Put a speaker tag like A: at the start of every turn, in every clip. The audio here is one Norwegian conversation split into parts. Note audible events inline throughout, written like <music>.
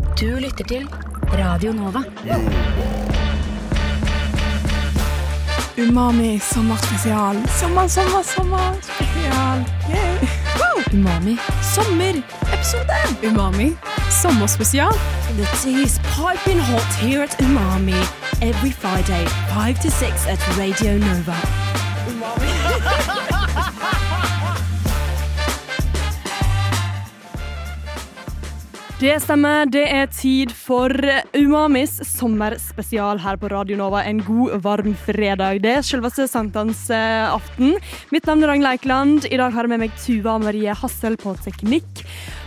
A: Du lytter til Radio Nova.
B: Umami sommerspesial. Sommer, sommer, sommerspesial. Yeah. Woo!
A: Umami.
B: Sommerepisode. Umami sommerspesial.
C: The tea is piping hot here at Umami every Friday, 5 to 6 at Radio Nova.
D: Det stemmer. Det er tid for Umamis sommerspesial her på Radio Nova. En god, varm fredag. Det er selveste sankthansaften. Mitt navn er Ragnhild Eikeland. I dag har jeg med meg Tuva Marie Hassel på teknikk.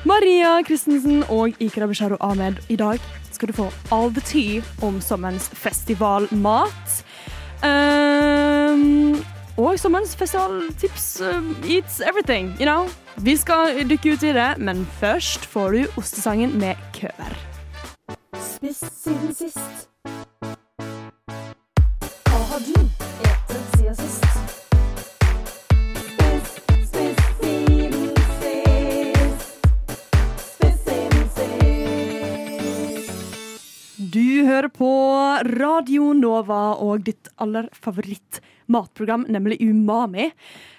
D: Maria Christensen og Ikra Besharo Ahmed. I dag skal du få av ty om sommerens festivalmat. Ehm, og sommerens festivaltips eh, It's everything, you know Vi skal dykke ut i det, men først får du ostesangen med køver Du hører på Radio Nova og ditt aller favoritt matprogram, nemlig Umami.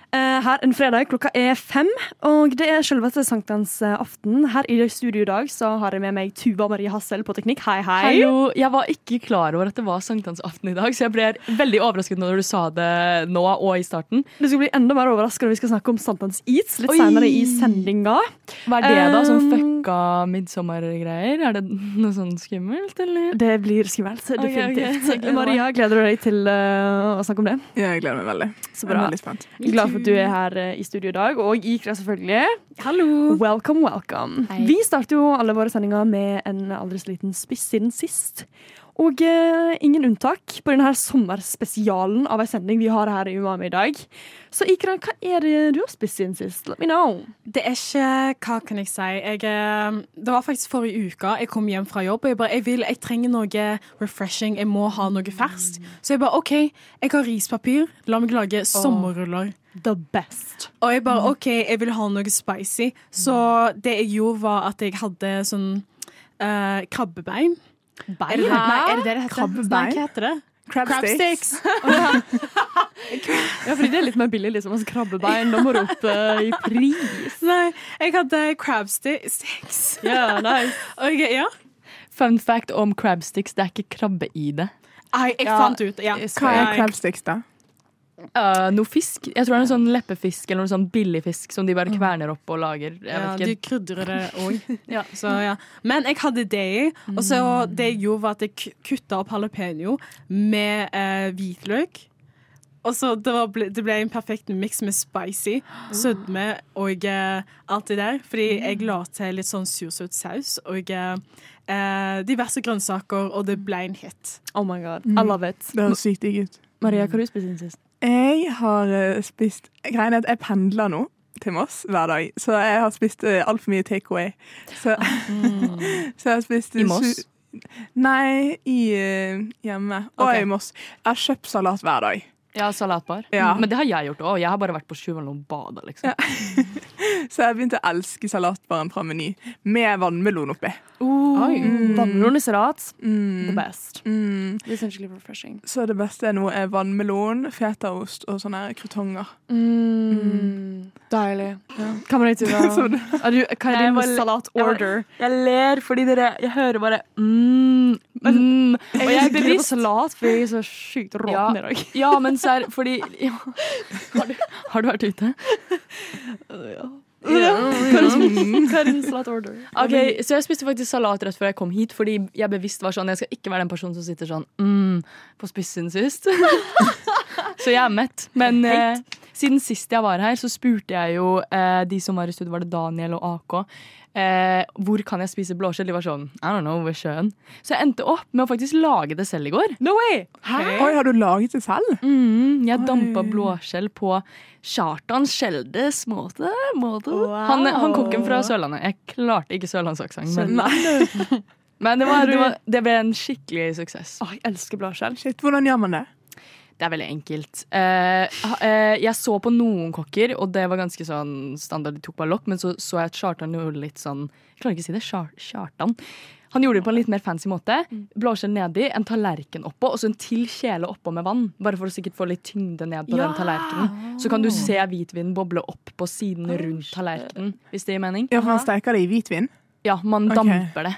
D: Eh, Her en fredag klokka er fem, og det er selveste sankthansaften. Her i studio i dag så har jeg med meg Tuva Marie Hassel på teknikk. Hei, hei.
E: Hallo. Jeg var ikke klar over at det var sankthansaften i dag, så jeg ble veldig overrasket når du sa det nå og i starten.
D: Du skal bli enda mer overrasket når vi skal snakke om sankthans-is litt
E: Oi.
D: senere i sendinga.
E: Hva er det, da? Sånn
D: Um,
E: fucka midsommergreier? Er det noe sånn skummelt, eller?
D: Det blir skummelt, definitivt.
E: ok, jeg gleder meg.
D: Maria, gleder du deg til eh, å snakke om det?
B: Ja, jeg gleder meg veldig.
D: Så
B: Jeg er
D: bra.
B: veldig spent.
D: Glad for at du er her eh, i studio i dag, og Ikra selvfølgelig. Welcome, welcome. Vi starter jo alle våre sendinger med en aldri så liten spiss siden sist. Og eh, ingen unntak på denne her sommerspesialen av en sending vi har her i Umami i dag. Så Ikra, hva er det du har spist siden sist? Let me know.
F: Det er ikke Hva kan jeg si? Jeg, eh, det var faktisk forrige uke. Jeg kom hjem fra jobb. og Jeg bare, jeg, vil, jeg trenger noe refreshing. Jeg må ha noe ferskt. Så jeg bare OK, jeg har rispapir. La meg lage sommerruller.
D: The best.
F: Og jeg bare OK, jeg vil ha noe spicy. Så det jeg gjorde, var at jeg hadde sånn eh, krabbebein. Er det, nei, er det det det heter? Nei, hva heter det? Crab sticks.
D: Ja, fordi det er litt mer billig, liksom. Altså, krabbebein, da må du opp eh, i pris.
F: Nei, jeg hadde crab sti- sticks.
D: Ja, nice.
F: Og jeg, ja.
E: <laughs> Fun fact om crabsticks, det er ikke krabbe i det.
F: Nei, jeg fant ut ja.
B: Hva er
F: Ja, jeg-
B: crab sticks, da?
E: Eh, noe fisk? Jeg tror det er noe sånn leppefisk eller noe sånn billigfisk som de bare kverner opp og lager. Jeg
F: Ja,
E: vet
F: de
E: ikke.
F: krydrer det òg. Så, <laughs> ja. Men jeg hadde det i. Og så det jeg gjorde, var at jeg kutta opp jalapeño med eh, hvitløk. Og så det, var, ble- det ble en perfekt miks med <gasps> spicy, sødme og eh, alt det der. Fordi jeg la til litt sånn sursøt saus og eh, eh, diverse grønnsaker, og det ble en hit.
D: Oh my god, I love it.
B: Det høres sykt digg ut.
D: Maria, hva har du spist siden sist?
B: Jeg har eh, spist Greien er at jeg pendler nå til Moss hver dag, så jeg har spist uh, altfor mye takeaway. Så, <laughs> så jeg har spist eh,
E: I Moss?
B: su- Nei, i, eh, hjemme. Og
E: Ok.
B: i Moss. Jeg har kjøpt salat hver dag.
E: Ja, salatbar. Mm,
B: Ja.
E: Men det har jeg gjort òg. Jeg har bare vært på Sjuvalen og bada, liksom.
B: Så jeg begynte å elske salatbaren fra Meny, med vannmelon oppi.
D: Mm. Vannmelon i salat. The
B: Mm.
D: best.
B: Mm.
D: Det er skikkelig refreshing.
B: Så det beste nå er vannmelon, fetaost og sånne her krutonger.
D: Deilig. Mm. Hva med deg, <laughs>
B: Så
D: Tuva?
B: det-
D: Er du- Hva er
E: Jeg
D: din
E: var-
D: salatorder?
E: Jeg ler fordi dere Jeg hører bare mm, mm. Og jeg er
D: digger
E: bevisst
D: salat, for jeg er så sjukt
E: Ja.
D: i dag.
E: Ja, men serr, fordi ja. har, du, har du vært ute?
D: <laughs> Hva er din salatorder?
E: Ok, Så jeg spiste faktisk salat rett før jeg kom hit, fordi jeg bevisst var sånn Jeg skal ikke være den personen som sitter sånn mm, på spissen sist. <laughs> så jeg er mett. Men eh, siden sist jeg var her, så spurte jeg jo eh, de som var i studio, var det Daniel og AK, eh, hvor kan jeg spise blåskjell? De var sånn I don't know, ved sjøen. Så jeg endte opp med å faktisk lage det selv i går.
D: No way!
B: Oi, har du laget det selv?
E: Mm, jeg
B: Oi.
E: dampa blåskjell på Kjartan Skjeldes måte. måte. Han, han kokken fra Sørlandet. Jeg klarte ikke sørlandsaksent, men, <laughs> men det, var, det, var, det ble en skikkelig suksess.
D: Å, Ah, jeg elsker blåskjell.
B: Shit, hvordan gjør man det?
E: Det er veldig enkelt. Eh, ha- eh, jeg så på noen kokker, og det var ganske sånn standard. De tok bare lokk, men så så jeg at Kjartan gjorde litt sånn Jeg klarer ikke å si det. Kjar- Kjartan. Han gjorde det på en litt mer fancy måte. Blåskjell nedi, en tallerken oppå, og så en til kjele oppå med vann. Bare for å sikkert få litt tyngde ned på den tallerkenen. Så kan du se hvitvinen boble opp på siden rundt tallerkenen, hvis det gir mening.
B: Ja, for man steker det i hvitvin.
E: Ja, man
B: Ok.
E: damper det.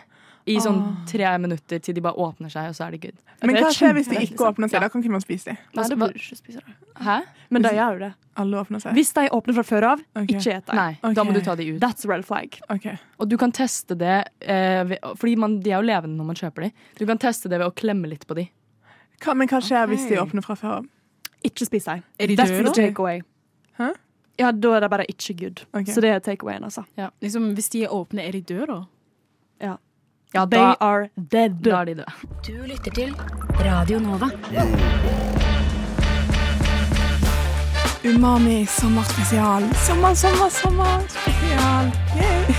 E: I sånn tre minutter til de bare åpner seg, og så er det good.
B: Men
D: Det er
B: hva skjer hvis de
D: kjempegodt,
B: ikke åpner seg? Da kan ikke man spise dem.
D: Nei,
E: Altså,
D: det
E: hva-
D: burde du ikke spise det.
E: Hæ?
D: Men de gjør jo det.
B: Alle åpner seg.
D: Hvis de åpner fra før av,
B: Ok.
D: ikke et dem.
E: Nei, da må
B: Ok.
E: du ta de ut.
D: That's red flag.
B: Ok.
E: Og du kan teste det eh, ved, Fordi man, de er jo levende når man kjøper de. Du kan teste det ved å klemme litt på de.
B: Hva, men hva skjer hvis de åpner fra før av?
D: Ikke spis dem.
F: Er de
D: That's
F: døde
D: the
F: da?
D: takeaway.
B: Hæ?
D: Ja, da er det bare ikke good.
B: Ok.
D: Så det er takeawayen, altså.
F: Liksom, hvis de er åpne, er de døde da?
E: Ja,
D: They
E: da,
D: are dead.
E: da er de døde.
A: Du lytter til Radio Nova.
B: Umami sommerspesial. Sommer, sommer, sommer spesial. Yay.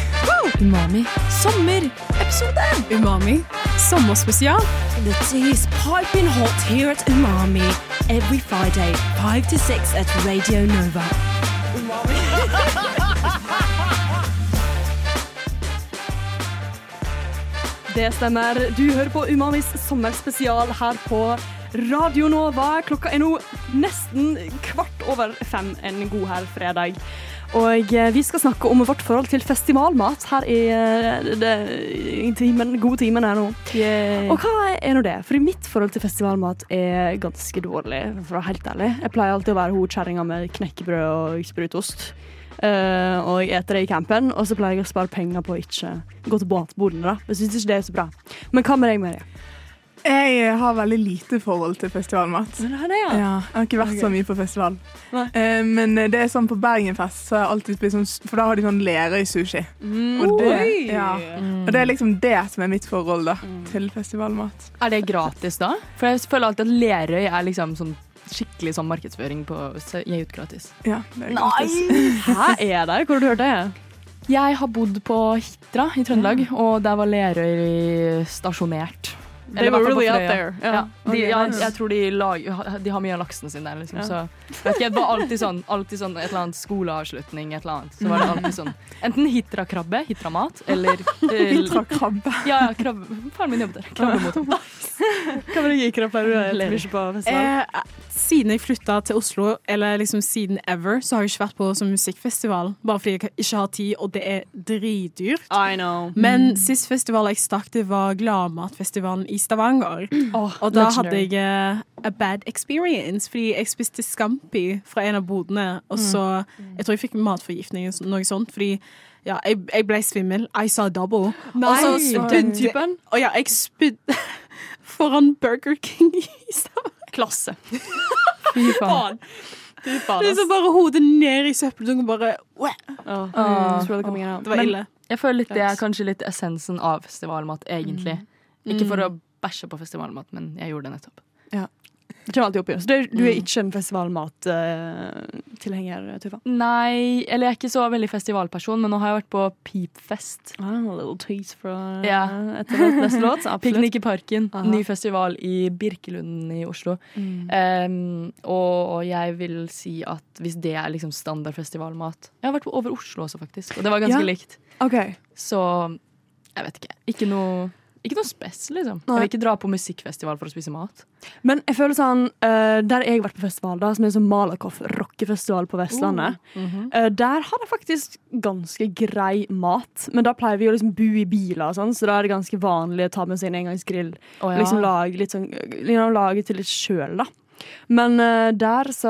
A: Umami.
F: Sommer! Episode! Umami. Sommerspesial.
C: The tea is piping hot here at Umami every Friday, 5 to 6 at Radio Nova.
D: Det stemmer. Du hører på Umamis sommerspesial her på Radio Nova. Klokka er nå nesten kvart over fem en god her fredag. Og eh, vi skal snakke om vårt forhold til festivalmat her i, eh, det, i timen, gode timen her nå. Og hva er nå det? For mitt forhold til festivalmat er ganske dårlig, for å være helt ærlig. Jeg pleier alltid å være hun kjerringa med knekkebrød og sprutost. Eh, og jeg eter det i campen, og så pleier jeg å spare penger på å ikke gå til båtbordene. da. Jeg synes ikke det er så bra. Men hva med deg, Mary?
B: Jeg har veldig lite forhold til festivalmat.
D: Ja.
B: Ja, jeg har ikke vært så mye på festival.
D: Nei.
B: Eh, men det er sånn på Bergenfest, så har jeg alltid spist sånn, for da har de sånn lerøy-sushi.
D: Mm,
B: Og, det- ja. og det er liksom det som er mitt forhold da,
D: Mm.
B: til festivalmat.
E: Er det gratis da? For jeg føler alltid at Lerøy er liksom sånn skikkelig sånn markedsføring på å gi ut gratis.
B: Ja, det er gratis.
D: Hæ, er det? Hvor har du hørt det?
E: Jeg har bodd på Hitra i Trøndelag, og der var Lerøy stasjonert. Eller i hvert fall på Frøya.
D: Ja.
E: Ja, de,
B: Ok,
E: ja,
B: nice.
E: jeg tror de, lag, de har mye av laksen sin der, liksom.
D: Ja.
E: Så, vet ikke, det var alltid sånn, alltid sånn et eller annet skoleavslutning, et eller annet. Så var det alltid <laughs> sånn enten hitra-krabbe, hitra-mat, eller eh,
B: Tra krabbe.
E: Ja, ja, krabbe. Faren min <laughs> jobbet der. Krabbemottak.
D: Hva med deg, Ikra? Pleier du å spise mye på festival?
F: Eh, siden jeg flytta til Oslo, eller liksom siden ever, så har jeg ikke vært på sånn musikkfestival. Bare fordi jeg ikke har tid, og det er dritdyrt.
D: I know.
F: Men sist festival jeg stakk til, var Gladmatfestivalen i Stavanger. Og da hadde jeg eh, a bad experience, fordi jeg spiste scampi fra en av bodene. Og så Jeg tror jeg fikk matforgiftning eller noe sånt, fordi ja, jeg, jeg ble svimmel. I saw double.
D: Nei,
F: og så
D: den
F: spydde
D: typen.
F: Og ja, jeg spydde <laughs> foran Burger King i Stavanger.
E: Klasse. Fy faen.
F: Fy faen, Det er så bare hodet ned i søppeldunken, bare Uæ!
D: It's really coming out.
F: Det var
E: Men-
F: ille.
E: Jeg føler litt det er kanskje litt essensen av festivalmat, egentlig. Ikke for å bæsje på festivalmat, men jeg gjorde det nettopp.
D: Det kommer alltid opp i oss. Du er du er ikke en festivalmat-tilhenger, eh, Tuva?
E: Nei, eller jeg er ikke så veldig festivalperson, men nå har jeg vært på <laughs> Pipfest.
D: Ah, a little tease fra
E: Ja.
D: etter låt, neste låt.
E: Piknik i parken.
D: Aha.
E: Ny festival i Birkelund i Oslo. Um, og jeg vil si at hvis det er liksom standard festivalmat Jeg har vært på over Oslo også, faktisk, og det var
D: Ja.
E: ganske likt.
D: <laughs> Ok.
E: Så jeg vet ikke. Ikke noe, ikke noe spes, liksom.
D: Nei.
E: Jeg vil ikke dra på musikkfestival for å spise mat.
D: Men jeg føler sånn, eh, der jeg har vært på festival, da, som er sånn Malakoff rockefestival på Vestlandet, eh, der har de faktisk ganske grei mat. Men da pleier vi å liksom bo i biler, og sånn, så da er det ganske vanlig å ta med seg en engangsgrill.
E: Å, ja.
D: Liksom lage litt sånn, liksom lage til litt sjøl, da. Men eh, der så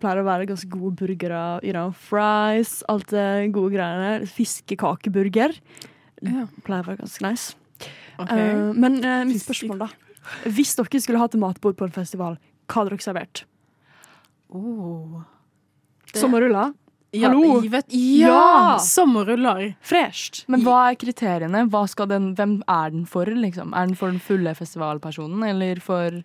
D: pleier det å være ganske gode burgere. You know, fries, alt det gode greiene. Fiskekakeburger.
B: Ja.
D: Pleier å være ganske nice.
B: Eh,
D: Eh, men eh, mitt spørsmål, da. Hvis dere skulle hatt et matbord på en festival, hva hadde dere servert? Sommerruller?
F: Ja,
D: Hallo?
F: jeg Vet,
D: Ja!
F: ja! Sommerruller.
D: Fresht.
E: Men hva er kriteriene? Hva skal den, hvem er den for? Liksom? Er den for den fulle festivalpersonen, eller for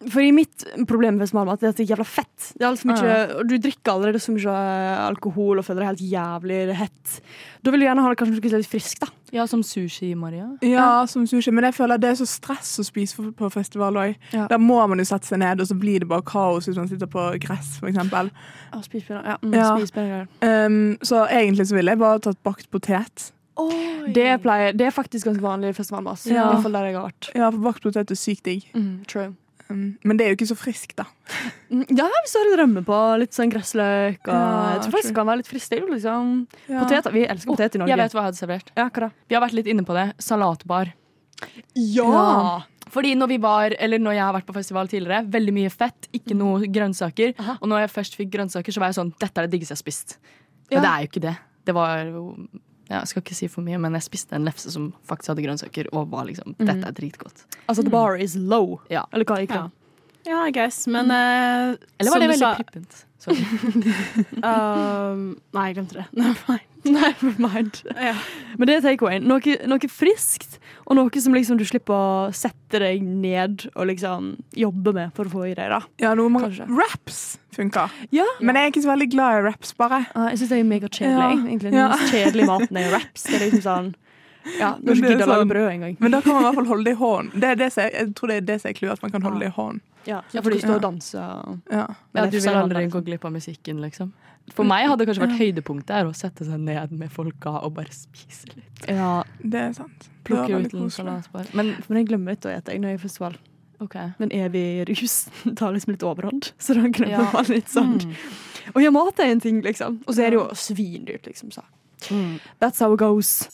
D: Fordi mitt problem med smalmat er at det er jævla fett. Det er alt for mye, og Du drikker allerede så mye eh, alkohol og føler deg helt jævlig hett. Da vil du gjerne ha det kanskje noe litt friskt. da
E: Ja, som sushi, Maria.
B: Ja, som sushi. Men jeg føler det er så stress å spise for- på festival òg.
D: Ja.
B: Da må man jo sette seg ned, og så blir det bare kaos hvis man sitter på gress, for eksempel.
D: Ja, spis bedre. Ja, mm,
B: Ja.
D: Spis bedre.
B: Um, så egentlig så ville jeg bare tatt bakt potet.
D: Det, pleier, det er faktisk ganske vanlig i festivalmat. altså.
B: Ja.
D: I hvert fall der jeg har vært.
B: Ja, for bakt potet er sykt digg.
D: Mm. true.
B: Um, men det er jo ikke så friskt, da.
D: Mm, Ja, hvis du har en rømme på litt sånn gressløk og
B: Ja,
D: Jeg tror faktisk det kan være litt fristende. det er jo Liksom.
B: Ja.
D: Poteter. Vi elsker potet i Norge.
E: Jeg vet hva jeg hadde servert.
D: Ja, hva da?
E: Vi har vært litt inne på det. Salatbar.
B: Ja!
E: Fordi når vi var, eller når jeg har vært på festival tidligere, veldig mye fett, ikke noe grønnsaker.
D: Aha.
E: Og når jeg først fikk grønnsaker, så var jeg sånn Dette er det diggeste jeg har spist. Men
D: Ja.
E: det er jo ikke det. Det var jo ja, Jeg skal ikke si for mye, men jeg spiste en lefse som faktisk hadde grønnsaker, og var liksom Dette er dritgodt.
D: Altså, the bar is low.
E: Ja.
D: Eller hva gikk det?
F: Ja. Ja, I guess, men eh,
E: Eller var
F: som
E: det
F: du
E: veldig prippent? <laughs> Sorry.
F: sa, um, <laughs> Nei, jeg glemte det. <laughs> Never mind.
D: Never mind.
F: Ja.
D: Men det er takeawayen. Noe, noe friskt, og noe som liksom du slipper å sette deg ned og liksom jobbe med for å få i deg. da.
B: Ja, noe man,
D: Kanskje.
B: raps funker.
D: Ja.
B: Men jeg er ikke så veldig glad i raps, bare.
D: Ah, jeg syns det er megakjedelig.
B: Ja.
D: jeg, egentlig. Den
B: Ja.
D: mest kjedelige maten er wraps. Det er liksom sånn Ja, du
B: Men
D: har ikke
B: det er
D: giddet å lage
B: sånn-
D: brød engang.
B: Men da kan man i hvert fall holde det i hånden. Det er det som er, jeg tror det er det som er clouet, at man kan holde det i hånden.
D: Ja,
E: Ja,
D: for du
E: fordi-
D: står og danser og
B: Ja.
E: Ja,
D: Men
E: du
D: det
E: vil
D: er
E: aldri
D: liksom.
E: gå glipp av musikken, liksom. For meg hadde det kanskje vært høydepunktet er å sette seg ned med folka og bare spise litt.
D: Ja,
B: Det er sant. Det var
E: Plukke
B: veldig
E: ut en
B: koselig.
E: salatbar. Men
D: men jeg glemmer litt å spise når jeg er i festival.
E: OK.
D: Den evige rusen <laughs> tar liksom litt overhånd, så da glemmer
E: Ja.
D: man litt sånn. Og ja, mat er en ting, liksom. Og så er det jo svindyrt, liksom. Så.
E: Mm.
D: That's how it goes.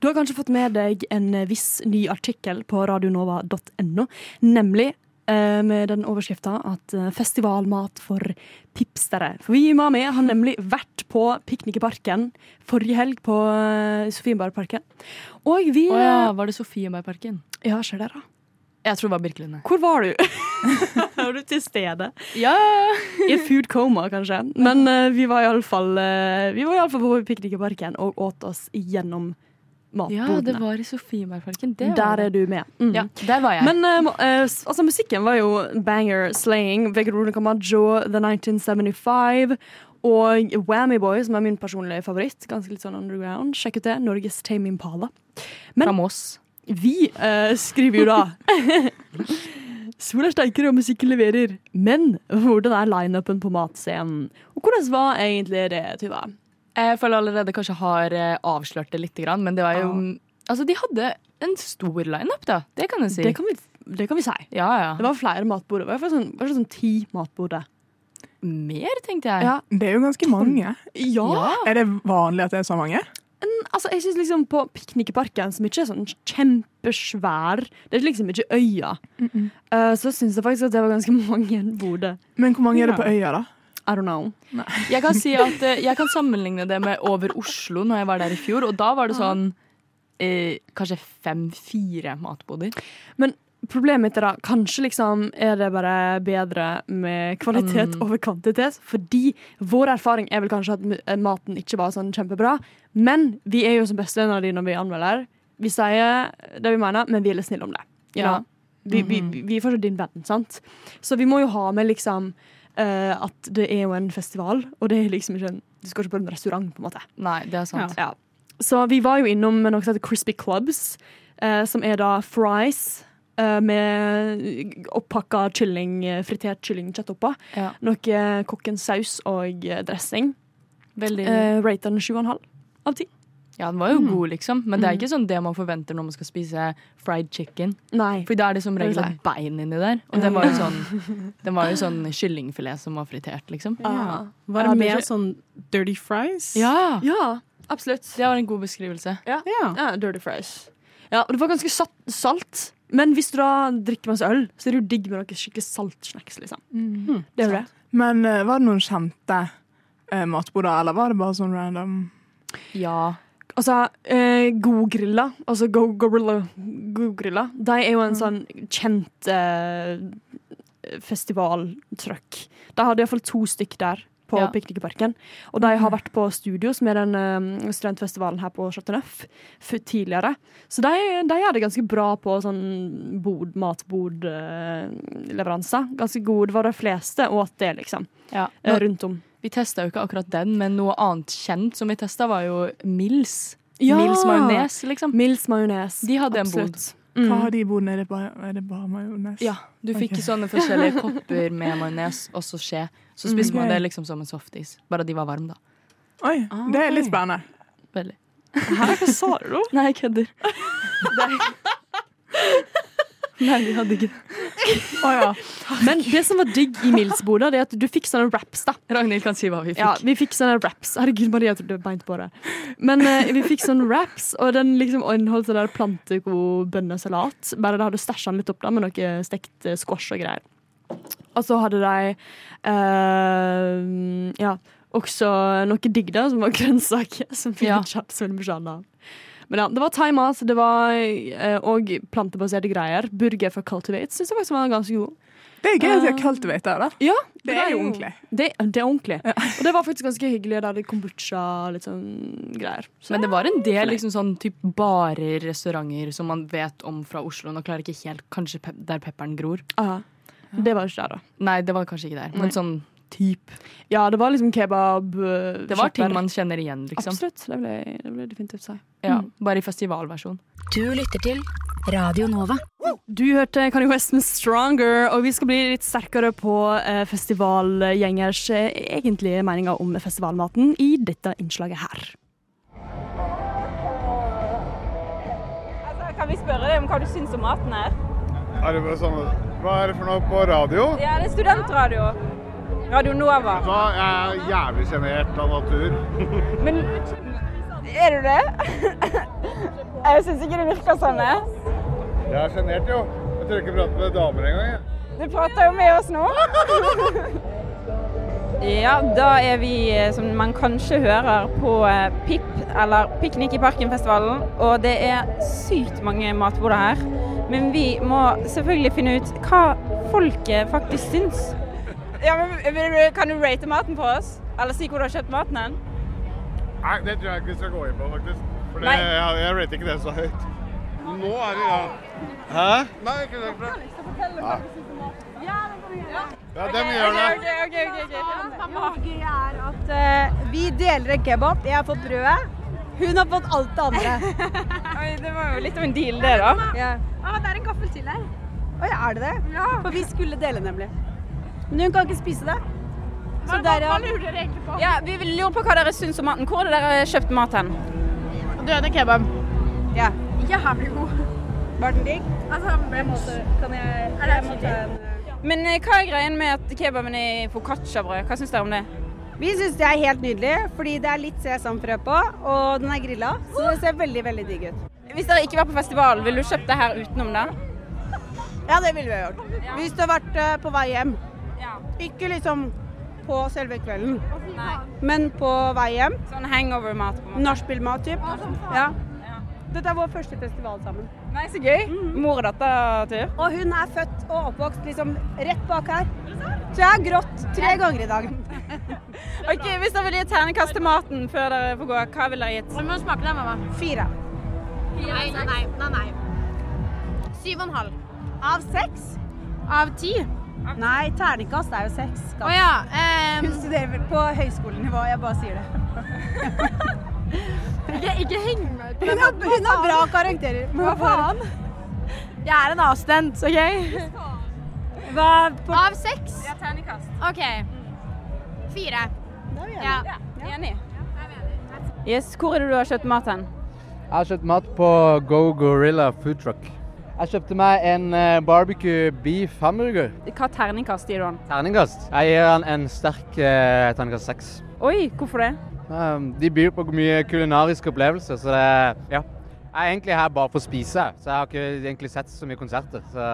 D: Du har kanskje fått med deg en eh, viss ny artikkel på radionova.no, nemlig eh, med den overskrifta at eh, festivalmat for tipstere. For vi i Mami har nemlig vært på Piknikeparken forrige helg på eh, Sofienbergparken. Og vi
E: Å ja, var det Sofiebergparken?
D: Ja, skjer det, da.
E: Jeg tror det var Birkelund.
D: Hvor var
E: <laughs>
D: du? var du til stede?
E: Ja.
D: I et food coma, kanskje. Men eh, vi var iallfall uh, på Piknikeparken og åt oss gjennom matbodene.
E: ja, det var i Sofiebergparken. Det var
D: Der er
E: det.
D: du med. Mm.
E: Ja, der var jeg.
D: Men eh, må- eh, s- altså, musikken var jo banger, slaying, Vegard Rune Camacho, The 1975 og Whammy Boy, som er min personlige favoritt. Ganske litt sånn underground. Sjekk ut det. Norges Tame Impala.
E: Fra Moss.
D: Vi eh, skriver jo da Sola steiker og musikken leverer. Men hvordan er lineupen på matscenen? Og hvordan var egentlig det, Tuva?
E: Jeg føler allerede kanskje har eh, avslørt det litt, men det var jo Altså, de hadde en stor lineup, da. Det kan jeg si.
D: Det kan vi, det kan vi si.
E: Ja,
D: Det
E: ja.
D: var flere matbord. Det var i hvert fall sånn, i hvert fall sånn ti matbord.
E: Mer, tenkte jeg.
D: Ja.
B: Det er jo ganske mange.
D: ja.
B: Er det vanlig at det er så mange?
D: Altså, jeg synes liksom På Piknikparken, som ikke er sånn kjempesvær Det er liksom ikke øya. eh, så syns jeg faktisk at det var ganske <laughs> mange boder.
B: Men hvor mange er det på øya, da?
D: I don't know.
E: Jeg kan si at eh, jeg kan sammenligne det med over Oslo når jeg var der i fjor, og da var det sånn eh, kanskje fem-fire matboder.
D: Problemet mitt er da kanskje liksom er det bare bedre med kvalitet over kvantitet. Fordi vår erfaring er vel kanskje at m- eh, maten ikke var sånn kjempebra. Men vi er jo som bestevenner de når vi anmelder. Vi sier det vi mener, men vi er litt snille om det. You
E: Ja.
D: know? Vi, vi, vi- vi er fortsatt din venn, sant? Så vi må jo ha med liksom eh, at det er jo en festival, og det er liksom ikke en Du skal ikke på en restaurant, på en måte.
E: Nei, det er sant.
D: Ja. Så vi var jo innom noe som heter Crispy Clubs, eh, som er da fries eh, med opppakka kylling, eh, fritert kyllingkjøtt oppå.
E: Ja.
D: Noe kokkens saus og eh, dressing.
E: Veldig
D: Eh, Rater den 7,5 av 10.
E: Ja, den var
D: Mm.
E: jo god, liksom, men det er ikke sånn det man forventer når man skal spise fried chicken.
D: Nei.
E: For da er det som regel et bein inni der, og den var jo sånn, <laughs> den var jo sånn kyllingfilet som var fritert, liksom.
D: Ja.
F: Var
D: Ja,
F: det
D: det er
F: mer
D: ikke-
F: sånn dirty fries?
E: Ja!
D: ja, absolutt.
E: Det var en god beskrivelse.
F: Ja.
D: Ja, dirty fries. Ja, og det var ganske salt, salt. Men hvis du da drikker masse øl, så er det jo Mm. digg med noe skikkelig saltsnacks. Liksom. Det er jo det.
B: Men eh, var det noen kjente eh, matboder, eller var det bare sånn random?
E: Ja.
D: Altså, eh, Godgrilla, altså Go Gorilla, Godgrilla, de er jo en
E: Mm.
D: sånn kjent eh, festivaltrøkk. De hadde iallfall to stykk der på
E: Ja. Mm.
D: Piknikparken. Og de har vært på Studio, som er den eh, studentfestivalen her på Chateau Neuf, f- tidligere. Så de, de gjør det ganske bra på sånn bod, matbordleveranser. ganske gode. Det var de fleste åt det, liksom.
E: ja.
D: eh, Rundt om.
E: Vi testa jo ikke akkurat den, men noe annet kjent som vi testa, var jo Mills.
D: Ja!
E: Mills majones, liksom.
D: Mils majones.
E: De hadde en bod.
D: Absolutt.
B: Hva
D: Mm.
B: har de bodd? Er det bare, er det bare majones?
E: Ja, du fikk
B: Ok.
E: sånne <laughs> forskjellige kopper med majones og så skje. Så spiste man
B: gøy.
E: det liksom som en softis, bare de var varme, da.
B: Oi, det er litt
E: ok.
B: spennende.
E: Veldig.
D: Hva sa du nå?
E: Nei, jeg kødder. Nei, de hadde ikke det.
B: Å
E: <laughs>
B: ja.
D: Men det som var digg i Mills-boda, det er at du fikk sånne wraps, da.
E: Ragnhild kan si hva vi fikk.
D: Ja, vi fikk sånne wraps. Herregud, Maria, jeg trodde jeg beint på det. Men eh, vi fikk sånne wraps, og den liksom inneholdt sånn der planteko-bønnesalat. Bare det hadde stæsja den litt opp da, med noe stekt eh, squash og greier. Og så hadde de eh, ja, også noe digg da, som var grønnsaker, <laughs> som vi
E: Ja.
D: ikke hadde så veldig mye annet av. Men ja, det var thaimat, det var òg plantebaserte greier. Burger fra Cultivate syns jeg faktisk var ganske god.
B: Det er gøy at de har cultivate der.
D: Ja,
B: Ah. Det
D: var
B: er jo ordentlig.
D: Det, det er ordentlig. Og det var faktisk ganske hyggelig. Der det kombucha litt sånn greier. Så
E: Men det var en del liksom sånn typ barer, restauranter som man vet om fra Oslo. Nå klarer jeg ikke helt kanskje pep der pepperen gror.
D: ja. Det var ikke der, da.
E: Nei, det var kanskje ikke der, men sånn typ.
D: Ja, det var liksom kebab. eh,
E: Det var ting
D: shopper.
E: man kjenner igjen, liksom.
D: Absolutt. Det vil jeg, det vil jeg definitivt si.
E: Ja, bare i festivalversjon.
A: Du lytter til Radio Nova.
D: Du hørte Kanye West med 'Stronger', og vi skal bli litt sterkere på eh, festivalgjengers eh, egentlige meninger om festivalmaten i dette innslaget her.
G: Kan vi spørre deg om hva du syns om maten her?
H: Er det bare sånn Hva er det for noe på radio?
G: Ja, det er studentradio. Radio Nova.
H: Da er jeg jævlig sjenert av natur.
G: Men er du det? <laughs> Jeg syns ikke det virker sånn. jeg.
H: Jeg er sjenert, jo. Jeg tør ikke prate med damer engang. jeg.
G: Du prater jo med oss nå. <laughs> Ja, da er vi, eh, som man kanskje hører, på eh, PIP, eller Piknik i parken-festivalen. Og det er sykt mange matboder her. Men vi må selvfølgelig finne ut hva folket faktisk syns. Ja, men vil du- Kan du rate maten for oss? Eller si hvor du har kjøpt maten hen?
H: Nei, det tror jeg ikke vi skal gå inn på, faktisk. For det,
G: Nei.
H: jeg, jeg rater ikke det så høyt. Nå er vi da Hæ? Nei, ikke det. Ja, dem gjør det.
I: Det er at eh, vi deler en kebab. Jeg har fått brødet. Hun har fått alt det andre.
G: <laughs> Oi, det var jo litt av en deal, det, da.
I: Ja. det er en gaffel til her. Oi, er det det? Ja. For vi skulle dele, nemlig. Men hun kan ikke spise det. Så der, ja.
G: Ja, Vi vil lure på hva dere syns om maten. Hvor har dere kjøpt mat hen?
I: Døende kebab. Ja. Jævlig god. Var den digg? Altså, på en måte kan jeg Er det
G: Men eh, hva er greien med at kebaben er i foccacciabrød? Hva syns dere om det?
I: Vi syns det er helt nydelig, fordi det er litt sesamfrø på, og den er grilla. Så det ser veldig, veldig digg ut.
G: Hvis dere ikke var på festivalen, ville du kjøpt det her utenom det?
I: Ja, det ville vi ha gjort. Hvis du har vært eh, på vei hjem.
G: Ja.
I: Ikke liksom på selve kvelden, men på vei hjem.
G: Sånn hangover-mat? på en måte.
I: Nachspielmat, typ. Ja. Dette er vår første festival sammen.
G: Nei, så gøy. Mor og datter-tur.
I: Mm. Og hun er født og oppvokst liksom rett bak her. Så jeg har grått tre ganger i dag.
G: <laughs> Ok, Hvis dere ville gi et terningkast til maten før dere får gå, hva ville dere gitt?
I: Du må smake det, mamma. Fire. Nei, nei, nei, nei. Syv og en halv. Av seks? Av ti? Nei, terningkast er jo seks. Å ja. <laughs> ehm. Hun studerer vel på høyskolenivå, jeg bare sier det. <laughs> ikke, heng meg ut Hun har bra karakterer. Hva faen? Jeg er en avstemt, OK? Hva på
J: Av seks?
G: Ja, terningkast.
J: OK. Fire. Ja.
G: Enig. Yes, Hvor er det du har kjøpt mat hen?
K: Jeg har kjøpt mat på Go Gorilla Food Truck. Jeg kjøpte meg en eh, barbecue beef hamburger.
G: Hva terningkast gir du den?
K: Terningkast. Jeg gir han en sterk eh, terningkast seks.
G: Oi, hvorfor det?
K: Um, de byr på mye kulinariske opplevelser, så det Ja. Jeg er egentlig her bare for å spise, så jeg har ikke egentlig sett så mye konserter. Så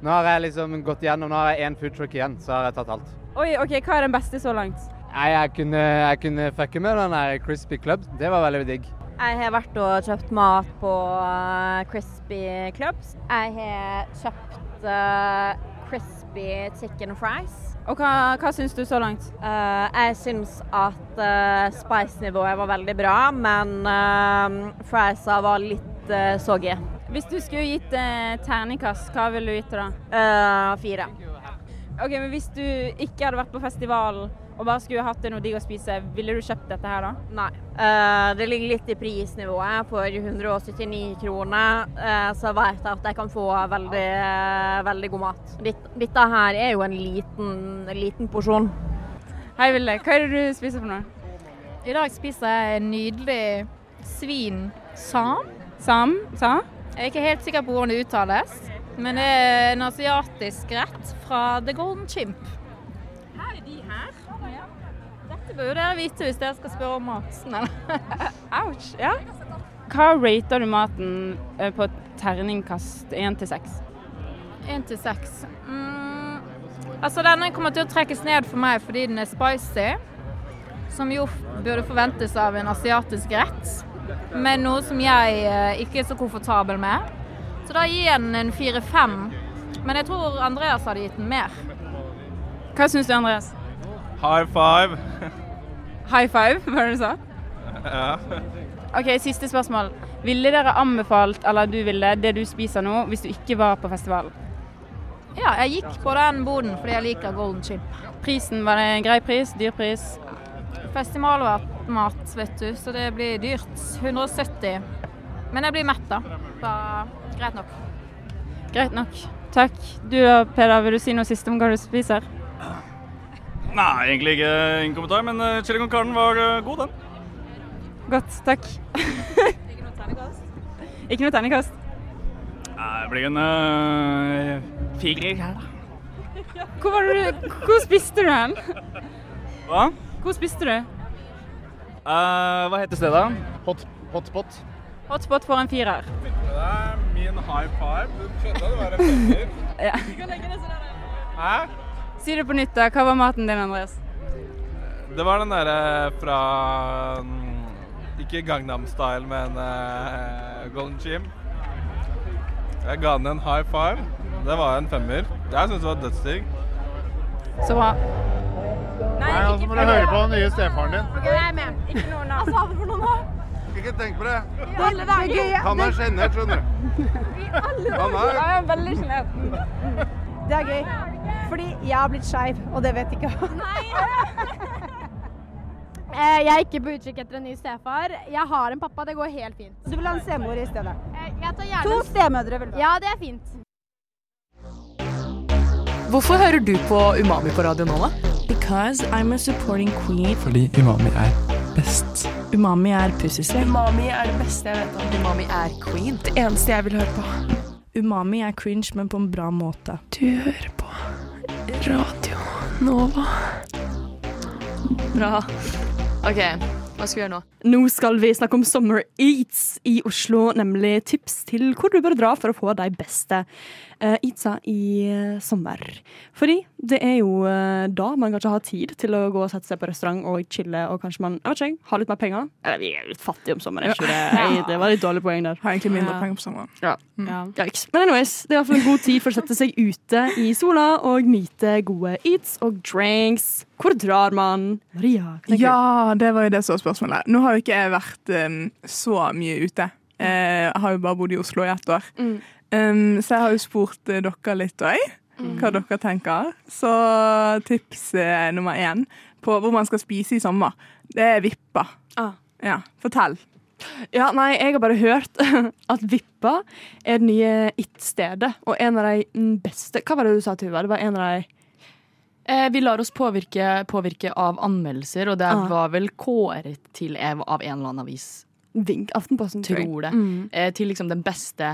K: nå har jeg liksom gått gjennom Nå har jeg én food truck igjen, så har jeg tatt alt.
G: Oi, ok, Hva er den beste så langt?
K: Nei, jeg kunne, jeg kunne fucke med den der Crispy Club. Det var veldig digg.
L: Jeg har vært og kjøpt mat på eh, Crispy Clubs. Jeg har kjøpt eh, crispy chicken fries.
G: Og hva, hva syns du så langt?
L: Eh, jeg syns at eh, spice-nivået var veldig bra, men eh, friesa var litt uh, soggy.
G: Hvis du skulle gitt eh, terningkast, hva ville du gitt det da?
L: Eh, fire.
G: Ok, men Hvis du ikke hadde vært på festivalen og bare skulle hatt det noe digg å spise, ville du kjøpt dette her da?
L: Nei. Eh, det ligger litt i prisnivået. For 179 kroner eh, så vet jeg at jeg kan få veldig, eh, veldig god mat. Ditt- Dette her er jo en liten, liten porsjon.
G: Hei, Ville. Hva er det du spiser for noe?
M: I dag spiser jeg nydelig svin sam.
G: Sam? Sa?
M: Jeg er ikke helt sikker på hvordan det uttales, men det er en asiatisk rett fra The Golden Chimp. Her er de her. Dette bør jo dere vite hvis dere skal spørre om Madsen, eller? <laughs>
G: Ouch, ja. Hva rater du maten eh, på terningkast 1 til 6?
M: Én til seks. Mm, altså, denne kommer til å trekkes ned for meg fordi den er spicy, som jo f- burde forventes av en asiatisk rett, men noe som jeg eh, ikke er så komfortabel med. Så da gir jeg den en fire-fem. Men jeg tror Andreas hadde gitt den mer.
G: Hva syns du, Andreas?
N: High five.
G: High five, <laughs> hva var det du sa?
N: ja.
G: OK, siste spørsmål. Ville dere anbefalt, eller du ville, det du spiser nå, hvis du ikke var på festivalen?
M: Ja, jeg gikk på den boden fordi jeg liker golden chip.
G: Prisen, var det en grei pris? Dyr pris?
M: Festivalmat, vet du, så det blir dyrt. 170. Men jeg blir mett, da. Så greit nok.
G: Greit nok. Takk. Du da, Peder, vil du si noe siste om hva du spiser?
N: Nei, egentlig ikke ingen kommentar, men eh, chili con carne var eh, god, den.
G: Godt, takk. Ikke noe terningkast?
N: Nei, det blir en eh, firer her, da.
G: Hvor, var du, hvor spiste du hen?
N: Hva?
G: Hvor spiste du?
N: Eh, hva heter stedet? Hot, hotspot.
G: Hotspot får en firer.
H: Det er min high five. Du skjønte det
G: <laughs>
H: var
G: Ja.
H: sånn Hæ?
G: Si det på nytt, da. Hva var maten din, Andreas?
N: Det var den derre fra mm, Ikke Gangnam Style, men eh, Golden Gym. Jeg ga den en high five. Det var en femmer. Jeg syns det var dødsdigg.
G: Så bra.
N: Nei,
H: og så altså, må du høre på den nye stefaren din.
I: Ok, jeg er med. Ikke noe nå. Hva sa du for noe nå?
H: Ikke tenk på det.
I: I alle dager.
H: Han er sjenert, skjønner du.
I: Alle
H: Han er-
I: Ja, jeg er veldig sjenert. Det er gøy. Fordi jeg har blitt skeiv, og det vet ikke han.
J: <laughs> Eh, Jeg er ikke på utkikk etter en ny stefar. Jeg har en pappa, det går helt fint. Eh,
I: Du vil ha en stemor i stedet.
J: Jeg tar gjerne...
I: To stemødre vil du ha.
J: Ja, det er fint.
O: Hvorfor hører du på Umami på Radio Nova? Because I'm a supporting queen.
P: Fordi umami er best.
O: Umami er pussespill.
Q: Umami er det beste jeg vet om. Umami er queen. Det eneste jeg vil høre på.
O: Umami er cringe, men på en bra måte.
Q: Du hører på Radio Nova.
R: Bra. OK, hva skal vi gjøre nå?
D: Nå skal vi snakke om Summer Eats i Oslo, nemlig tips til hvor du bør dra for å få de beste eh, eatsa i eh, sommer. Fordi det er jo eh, da man kanskje har tid til å gå og sette seg på restaurant og chille, og kanskje man jeg vet ikke, jeg, har litt mer penger. Eller vi er jo litt fattige om sommeren, er ikke det?
R: <laughs>
D: Jeg, det var litt dårlig poeng der.
B: Har egentlig mindre penger på sommeren.
D: Ja.
E: Mm.
D: Yikes. Men anyways, det er i hvert fall en god tid for å sette seg ute i sola og nyte gode eats og drinks. Hvor drar man? Maria? hva tenker
B: Ja, det var jo det som var spørsmålet. Nå har jo ikke jeg vært um, så mye ute. Eh, Jeg har jo bare bodd i Oslo i ett år.
D: Mm.
B: Um, så jeg har jo spurt eh, dere litt òg, hva dere tenker. Så tips eh, nummer én på hvor man skal spise i sommer, det er vippa.
D: Ah.
B: Ja, fortell.
D: Ja, nei, jeg har bare hørt <laughs> at Vippa er det nye It-stedet, og en av de beste Hva var det du sa, Tuva? Det var en av de
E: Eh, vi lar oss påvirke, påvirke av anmeldelser, og det
D: Ah.
E: var vel kåret til ev av en eller annen avis.
D: Vink, Aftenposten, tror jeg.
E: Tror det.
D: Mm.
E: Eh, til liksom den beste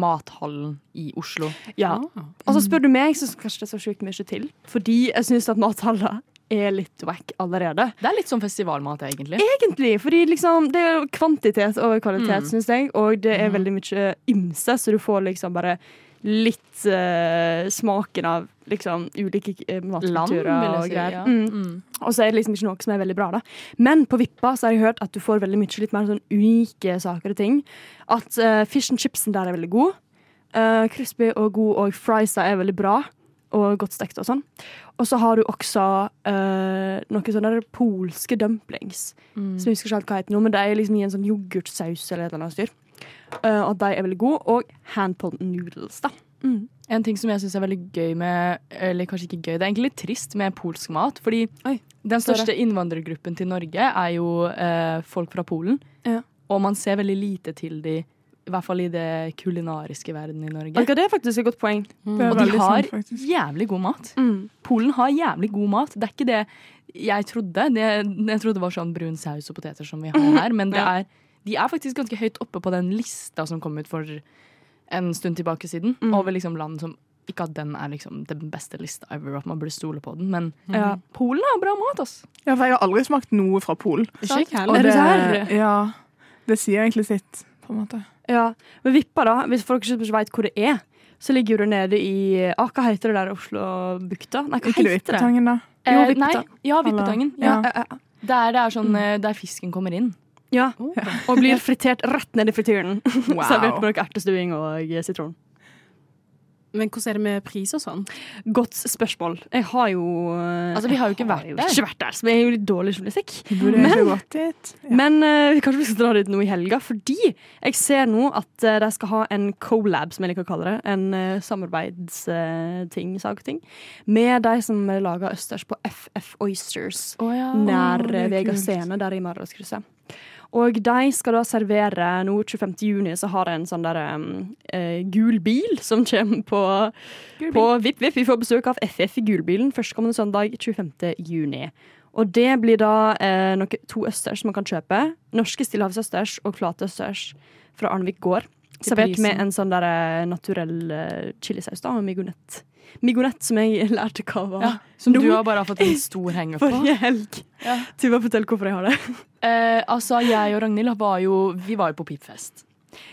E: mathallen i Oslo.
D: Ja. Og så spør du meg, så skal kanskje det så sjukt mye til. Fordi jeg syns at mathaller er litt wack allerede.
E: Det er litt sånn festivalmat, egentlig.
D: Egentlig, fordi liksom, det er jo kvantitet over kvalitet,
E: Mm.
D: syns jeg. Og det er veldig mye ymse, så du får liksom bare litt eh, smaken av liksom ulike eh, matkulturer
E: Land, vil jeg
D: og
E: si,
D: greier.
E: ja.
D: Mm.
E: Mm.
D: Og så er det liksom ikke noe som er veldig bra, da. Men på Vippa så har jeg hørt at du får veldig mye litt mer sånn unike saker og ting. At eh, fish and chipsen der er veldig god. Eh, crispy og god, og friesa er veldig bra. Og godt stekt og sånn. Og så har du også eh, noen sånne der polske dumplings.
E: Mm.
D: Som jeg husker ikke helt hva heter nå, men de er liksom i en sånn yoghurtsaus eller et eller annet styr. Eh, og de er veldig gode. Og handpulled noodles, da.
E: En ting som jeg syns er veldig gøy med Eller kanskje ikke gøy, det er egentlig litt trist med polsk mat. Fordi den
D: står
E: største
D: det.
E: innvandrergruppen til Norge er jo eh, folk fra Polen.
D: Ja.
E: Og man ser veldig lite til de, i hvert fall i det kulinariske verden i Norge.
D: Vet du hva, det er faktisk et godt poeng. Det er
E: Og de
D: veldig
E: har
D: sant, faktisk.
E: jævlig god mat.
F: Mm.
E: Polen har jævlig god mat. Det er ikke det jeg trodde. Det, jeg trodde det var sånn brun saus og poteter som vi har her, men det
D: Mhm. Ja.
E: er, de er faktisk ganske høyt oppe på den lista som kom ut for en stund tilbake siden,
D: Mhm.
E: over liksom land som ikke at den er liksom den beste lista ever, at man burde stole på den, men
F: Mhm.
B: Ja.
E: Polen har bra mat, ass.
B: Ja, for jeg har aldri smakt noe fra Polen.
E: Ikke jeg heller.
B: Og
E: Er du
B: det-
E: serr?
B: Ja. Det sier egentlig sitt, på en måte.
D: Ja, men Vippa, da, hvis folk ikke vet hvor det er, så ligger jo det nede i ah, Hva heter det der Oslo-bukta? Nei, hva
B: Ikke det
D: heter det?
B: Vippetangen, da?
D: Jo,
E: Eh, nei,
D: Vippetangen.
E: ja, Vippetangen. Ja.
D: Ja. Mm.
E: Der, det er sånn, eh, der fisken kommer inn.
D: Ja. Og blir fritert rett ned i
F: <laughs>
D: frityren. <laughs>
E: Wow.
D: Servert med noe ertestuing og eh, sitron.
F: Men hvordan er det med pris og sånn?
D: Godt spørsmål. Jeg har jo
F: Altså, vi har jo ikke vært der.
D: Ikke vært der, så jeg er jo litt dårlig journalistikk.
B: Burde
D: Men,
B: egentlig gått dit.
D: men eh, kanskje vi skal dra dit nå i helga, fordi jeg ser nå at eh, de skal ha en colab, som jeg liker å kalle det. En uh, samarbeidsting, sak og ting. Med de som lager østers på FF Oysters nær
E: Å, det
D: eh,
E: er
D: Vega
E: kult.
D: scene, der i Maridalskrysset. Og de skal da servere nå 25. juni, så har de en sånn der um, eh, gul bil som kommer på,
E: Gul bil.
D: på Vipp Vipp. Vi får besøk av FF i Gulbilen førstkommende søndag 25. juni. Og det blir da eh, noe, to østers man kan kjøpe. Norske stillehavsøsters og flatøsters fra Arnvik gård.
E: Til
D: Servert
E: prisen.
D: med en sånn der eh, naturell eh, chilisaus da, og migonett. Migonett som jeg <laughs> lærte hva var.
E: Ja, som du
D: nå.
E: har bare fått en
D: <laughs>
E: stor henger på.
D: Forrige helg. Tuva, fortell hvorfor jeg har det.
E: Eh, altså, jeg og Ragnhild var jo Vi var jo på pipfest.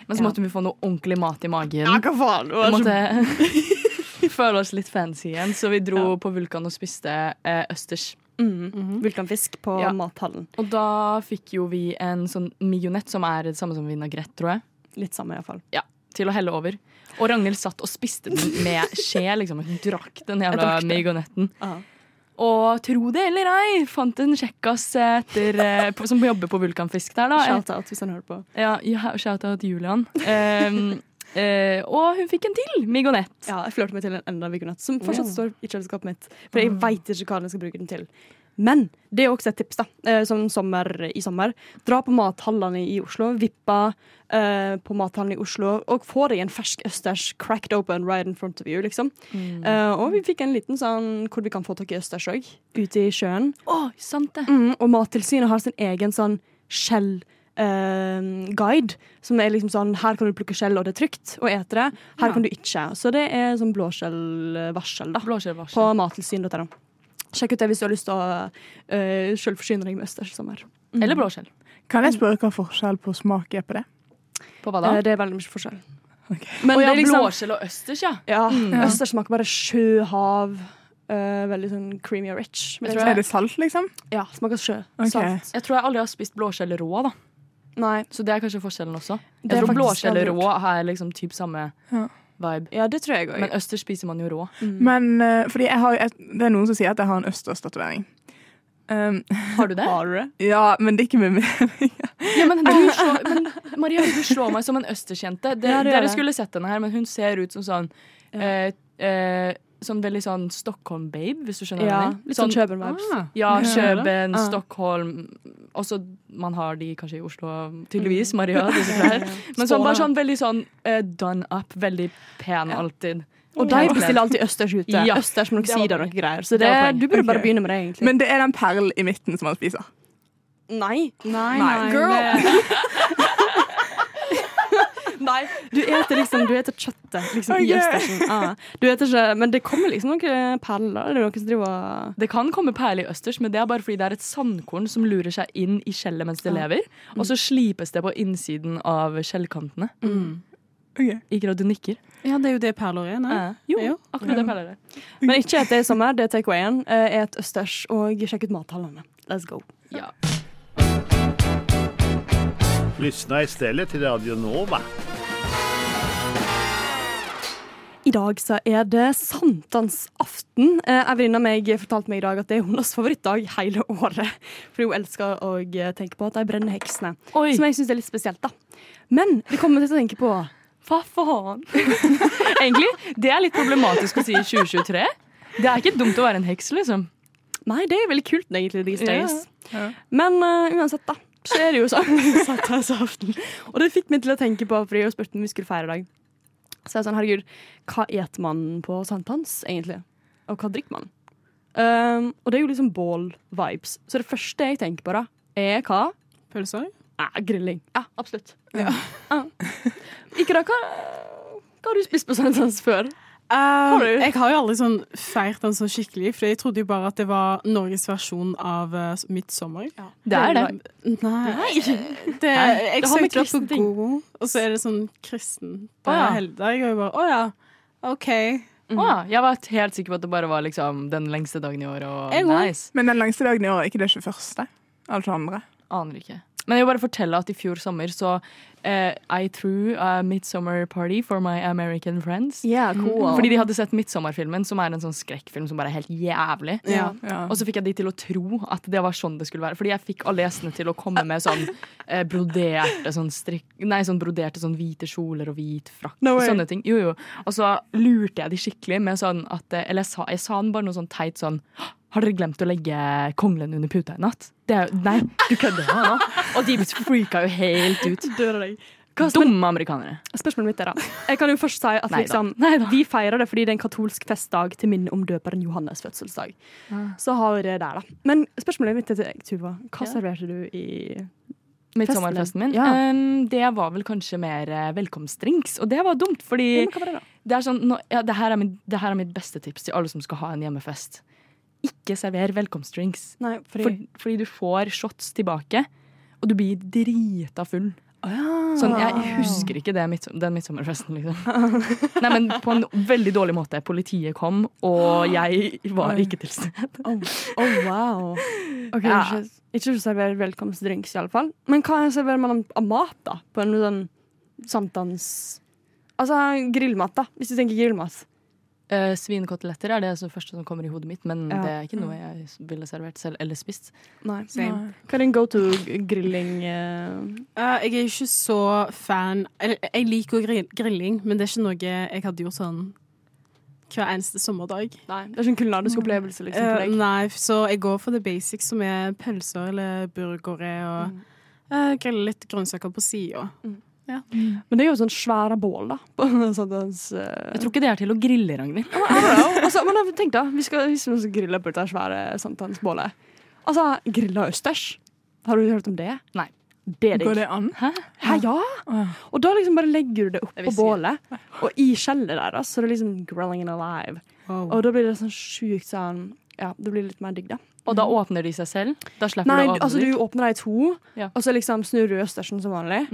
E: Men så
D: Ja.
E: måtte vi få noe ordentlig mat i magen.
D: Ja, hva faen? Det var
E: Vi
D: så-
E: måtte <laughs> føle oss litt fancy igjen, så vi dro på Vulkan og spiste eh, østers.
D: Vulkanfisk på
E: Mhm. Ja.
D: mathallen.
E: Og da fikk jo vi en sånn mionett, som er det samme som vinagrett, tror jeg.
D: Litt samme, iallfall.
E: Ja, til å helle over. Og Ragnhild satt og spiste den med skje, liksom. Hun drakk den
D: Jeg
E: jævla
D: drakk det.
E: mionetten.
D: Ja.
E: Og tro det eller ei, fant en kjekkas etter, eh, på, som jobber på Vulkanfisk der, da.
D: Shout-out hvis han hører på.
E: Ja, ja shout-out Julian. Ehm, <laughs> eh, og hun fikk en til migonett.
D: Ja, jeg flørte meg til en enda vigonett, som fortsatt
E: Ja. Mm.
D: står i kjøleskapet mitt. For jeg veit ikke hva jeg skal bruke den til. Men det er også et tips, da. eh, Som sommer i sommer. Dra på mathallene i Oslo. Vippa eh, på mathallen i Oslo. Og få deg en fersk østers cracked open right in front of you, liksom.
E: Mm.
D: Eh, og vi fikk en liten sånn hvor vi kan få tak i østers òg. Ute i sjøen.
E: Å, sant det.
D: Mm, og Mattilsynet har sin egen sånn skjell-guide. som er liksom sånn Her kan du plukke skjell, og det er trygt å ete det. Her
E: Ja.
D: kan du ikke. Så det er sånn blåskjellvarsel, da. På mattilsyn.no. Sjekk ut det hvis du har lyst til å uh, sjølforsyne deg med østers i sommer.
E: Eller blåskjell.
B: Kan jeg spørre hva forskjell på smak er på det?
E: På hva da?
D: Eh, det er veldig mye forskjell.
E: Men
D: det
E: ja,
D: er liksom-
E: Blåskjell og østers, ja.
D: Ja,
E: Mm.
D: Østers smaker bare sjø, hav. eh, veldig sånn creamy og rich.
E: Jeg tror jeg- Er det
B: salt, liksom?
D: Ja, smaker sjø.
B: Ok.
D: Salt.
E: Jeg tror jeg aldri har spist blåskjell rå, da.
D: Nei.
E: Så det er kanskje forskjellen også. Jeg
D: Det er
E: tror
D: faktisk
E: blåskjell
D: aldri
E: rå er liksom typ samme
B: Ja.
E: vibe.
D: Ja, det tror jeg også.
E: Men østers spiser man jo rå.
B: Men eh, fordi jeg har, jo et- det er noen som sier at jeg har en østerstatovering. Um, <laughs>
E: har du det?
B: Ja, men det er ikke med meg.
E: Ja,
D: <laughs>
E: men, du slår, men Maria, du slår meg som en østersjente. De,
B: Ja, det gjør
E: dere
B: jeg.
E: skulle sett henne her, men hun ser ut som sånn eh, eh, Sånn veldig sånn Stockholm-babe, hvis du skjønner
D: Ja,
E: hva jeg mener.
D: litt sånn Kjøben-vibes. Ah.
E: Ja,
D: Ja.
E: Kjøben,
D: Ja.
E: Stockholm Også man har de kanskje i Oslo, tydeligvis. Maria, disse <laughs> klær. Men sånn, bare sånn veldig sånn eh, done up. Veldig pen alltid. Mm.
D: Og de bestiller alltid østers ute.
E: Ja.
D: Østers med noe
E: Det var
D: sider og noe greier. Så det,
E: var poenget.
D: du burde bare
B: Ok.
D: begynne med det, egentlig.
B: Men det er den perlen i midten som man spiser.
D: Nei.
F: Nei,
B: nei,
D: Girl! Nei. Du eter liksom Du eter kjøttet liksom,
E: Ok.
D: i østersen. Ja. Du eter ikke Men det kommer liksom noen perler. Det er noen som driver
E: Det kan komme perler i østers, men det er bare fordi det er et sandkorn som lurer seg inn
D: Ah.
E: i skjellet mens det
D: Ja. Mm.
E: lever, og så slipes det på innsiden av skjellkantene. Ikke at du nikker.
F: Ja, det er jo det perler er.
E: Eh.
F: Nei?
D: Jo,
F: Jo.
E: akkurat det perler
D: er. Men ikke et det i sommer, det er takeawayen. Eh, Et østers og sjekk ut mathallene. Let's go.
S: Lyssna istället till Radio Nova.
D: I dag så er det sankthansaften. Eh, Ei venninne av meg fortalte meg i dag at det er hennes favorittdag hele året. Fordi hun elsker å eh, tenke på at de brenner heksene. Som jeg syns er litt spesielt, da. Men det kommer meg til å tenke på Hva faen?
E: Egentlig, det er litt problematisk å si i 2023. Det er ikke dumt å være en heks, liksom.
D: Nei, det er veldig kult, egentlig, these days.
E: Ja.
D: Men eh, uansett, da. Så er det jo sånn <laughs> sankthansaften. Og det fikk meg til å tenke på, fordi hun spurte om vi skulle feire i dag. Så jeg er sånn, herregud, hva et man på sankthans, egentlig? Og hva drikker man? Um, og det er jo liksom bål-vibes. Så det første jeg tenker på, da, er hva?
F: Pølser?
D: Ja, grilling. Ja, absolutt. Ja. Ah. Ikke da, hva, hva har du spist på sankthans før?
F: Um, jeg har jo aldri sånn feirt den sånn skikkelig, for jeg trodde jo bare at det var Norges versjon av uh, Midtsommer.
E: Det er det.
F: Nei. Det,
E: Nei,
F: jeg
E: det har med
F: søkte opp
E: kristne
F: på
E: ting.
F: Google, og så er det sånn kristen
E: Å,
F: på
E: ja.
F: helgedag. Og jeg bare Å ja, OK.
D: Mhm.
E: Å ja, jeg var helt sikker på at det bare var liksom, den lengste dagen i år. Og
B: Jeg òg.
E: nice.
B: Men den lengste dagen i året, er ikke det altså 21.? Eller 22.?
E: Aner ikke. Men jeg vil bare fortelle at i fjor sommer så eh, I threw a midsummer party for my American friends.
D: Yeah, cool.
E: Fordi de hadde sett Midtsommerfilmen, som er en sånn skrekkfilm som bare er helt jævlig.
D: Ja. Ja.
E: Og så fikk jeg de til å tro at det var sånn det skulle være. Fordi jeg fikk alle gjestene til å komme med sånn eh, broderte sånn strikk... Nei, sånn broderte sånn hvite kjoler og hvit frakk
D: No
E: og
D: way.
E: sånne ting. Jo, jo. Og så lurte jeg de skikkelig med sånn at eh, Eller jeg sa, jeg sa bare noe sånn teit sånn Har dere glemt å legge konglen under puta i natt? Det er jo Nei, du kødder med meg nå? Og de freaka jo helt ut. Dumme amerikanere.
D: Spørsmålet mitt er da Jeg kan jo først si at
E: Neida.
D: liksom, vi feirer det fordi det er en katolsk festdag til minne om døperen Johannes fødselsdag. Så har vi det der, da. Men spørsmålet mitt er til deg, Tuva. Hva
E: Ja.
D: serverte du i
E: Midtsommerfesten min.
D: Ja.
E: Um, det var vel kanskje mer eh, velkomstdrinks, og det var dumt, fordi
D: Ja, men hva var det da?
E: det er sånn, nå, ja, det, her er min, det her er mitt beste tips til alle som skal ha en hjemmefest. Ikke server velkomstdrinks.
D: Nei, fordi- <laughs>
E: For, fordi du får shots tilbake, og du blir drita full. Sånn, jeg husker ikke det, midtsom- den midtsommerfesten, liksom. <laughs> Nei, men på en veldig dårlig måte. Politiet kom, og jeg var ikke til stede.
D: Oh, oh wow. Ok,
E: Ja.
D: ikke, ikke server velkomstdrinks, iallfall. Men hva serverer man av mat, da? På en sånn sankthans... Altså grillmat, da. Hvis du tenker grillmat.
E: Eh, Svinekoteletter er det som første som kommer i hodet mitt, men
D: Ja.
E: det er ikke noe jeg ville servert selv eller spist.
D: Nei.
E: Same.
D: Hva er din go to grilling? eh?
F: Eh, jeg er ikke så fan Eller jeg liker jo grill- grilling, men det er ikke noe jeg hadde gjort sånn hver eneste sommerdag.
D: Nei, det er ikke en kulinarisk opplevelse liksom, for
F: Eh,
D: deg.
F: nei, så jeg går for the basics, som er pølser eller burgere, og eh, griller litt grønnsaker på sida. Ja.
D: Men det er jo sånn svære bål, da. <laughs> På sankthans, eh.
E: Jeg tror ikke det er til å grille, Ragnhild.
D: altså, men jeg- tenk da, vi skal, hvis vi skal grille på dette svære sankthansbålet Altså, grilla østers. Har du hørt om det?
E: Nei.
D: Det er digg.
B: Går det an?
D: Hæ? Hæ, ja. Og da liksom bare legger du det oppå
B: visste
D: bålet, og i skjellet der, altså, så det er liksom grilling it alive. Og da blir det sånn sjukt sånn Ja, det blir litt mer digg, da.
E: Og da åpner de seg selv? Da slipper
D: Nei,
E: du
D: du-
E: å åpne
D: altså
E: de?
D: du åpner deg i to,
E: Ja.
D: og så liksom snur du østersen som vanlig.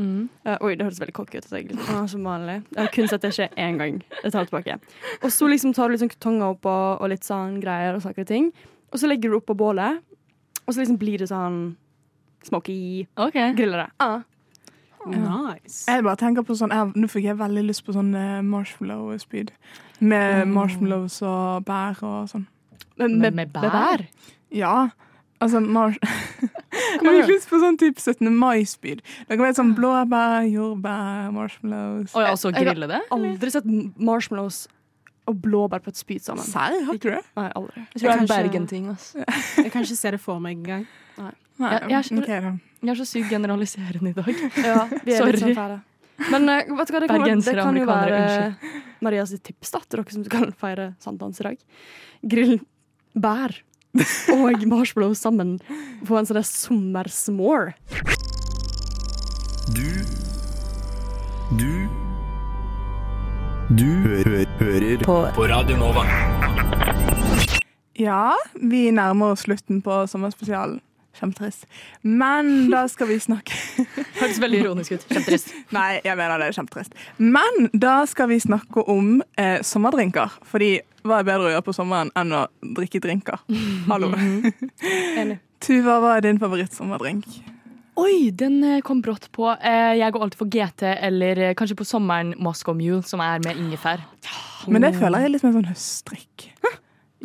D: Eh, oi, det høres veldig cocky ut. at Jeg, liksom, ah, som vanlig. jeg har kun sett det skje én gang. Jeg tar det tilbake. Og så liksom tar du liksom tonga opp og, og litt sånn greier og saker og ting. Og så legger du opp på bålet, og så liksom blir det sånn smoky. Griller det. Ah.
F: Nice.
B: Jeg bare tenker på sånn jeg, Nå fikk jeg veldig lyst på sånn eh, marshmallow speed. Med
E: Mm.
B: marshmallows og bær og sånn.
D: Med,
E: med- med bær?
B: Ja. Altså
E: <laughs>
B: mars... Jeg fikk lyst på sånn type 17. mai-speed. Det kan være sånn blåbær, jordbær, marshmallows
E: Å ja, og så grille det?
D: Jeg har aldri sett marshmallows og blåbær på et spyd sammen.
B: Serr, har ikke du det?
D: Nei, aldri.
E: Jeg tror det er en
F: Kanskje-
E: Bergen-ting. ass.
F: <laughs> Jeg kan ikke se det for meg engang.
B: Nei,
E: Jeg, jeg, er så,
B: ok da.
E: jeg er så sykt generaliserende i dag.
D: Ja, vi er litt
E: Sorry.
D: sånn fæle. Men eh, vet du hva, det kan, være- det
E: Bergensere,
D: kan jo være
E: amerikanere,
D: Marias tips da, til dere som skal feire sankthans i dag. Grill bær og <laughs> marshmallow sammen på en sånn der sommersmore.
P: Du Du Du hø hø hører på. Radio Nova.
B: Ja, vi nærmer oss slutten på sommerspesialen. Kjempetrist. Men da skal vi snakke <laughs>
E: Hørtes <laughs> veldig ironisk ut. Kjempetrist.
B: Nei, jeg mener det er kjempetrist. Men da skal vi snakke om eh, sommerdrinker. Fordi hva er bedre å gjøre på sommeren enn å drikke drinker?
E: <laughs>
B: Hallo. <laughs> Tuva, hva er din favorittsommerdrink?
E: <laughs> Oi, den eh, kom brått på. Eh, Jeg går alltid for GT eller eh, kanskje på sommeren Moscow Mule, som er med ingefær.
B: Men det føler jeg er litt mer sånn høstdrikk.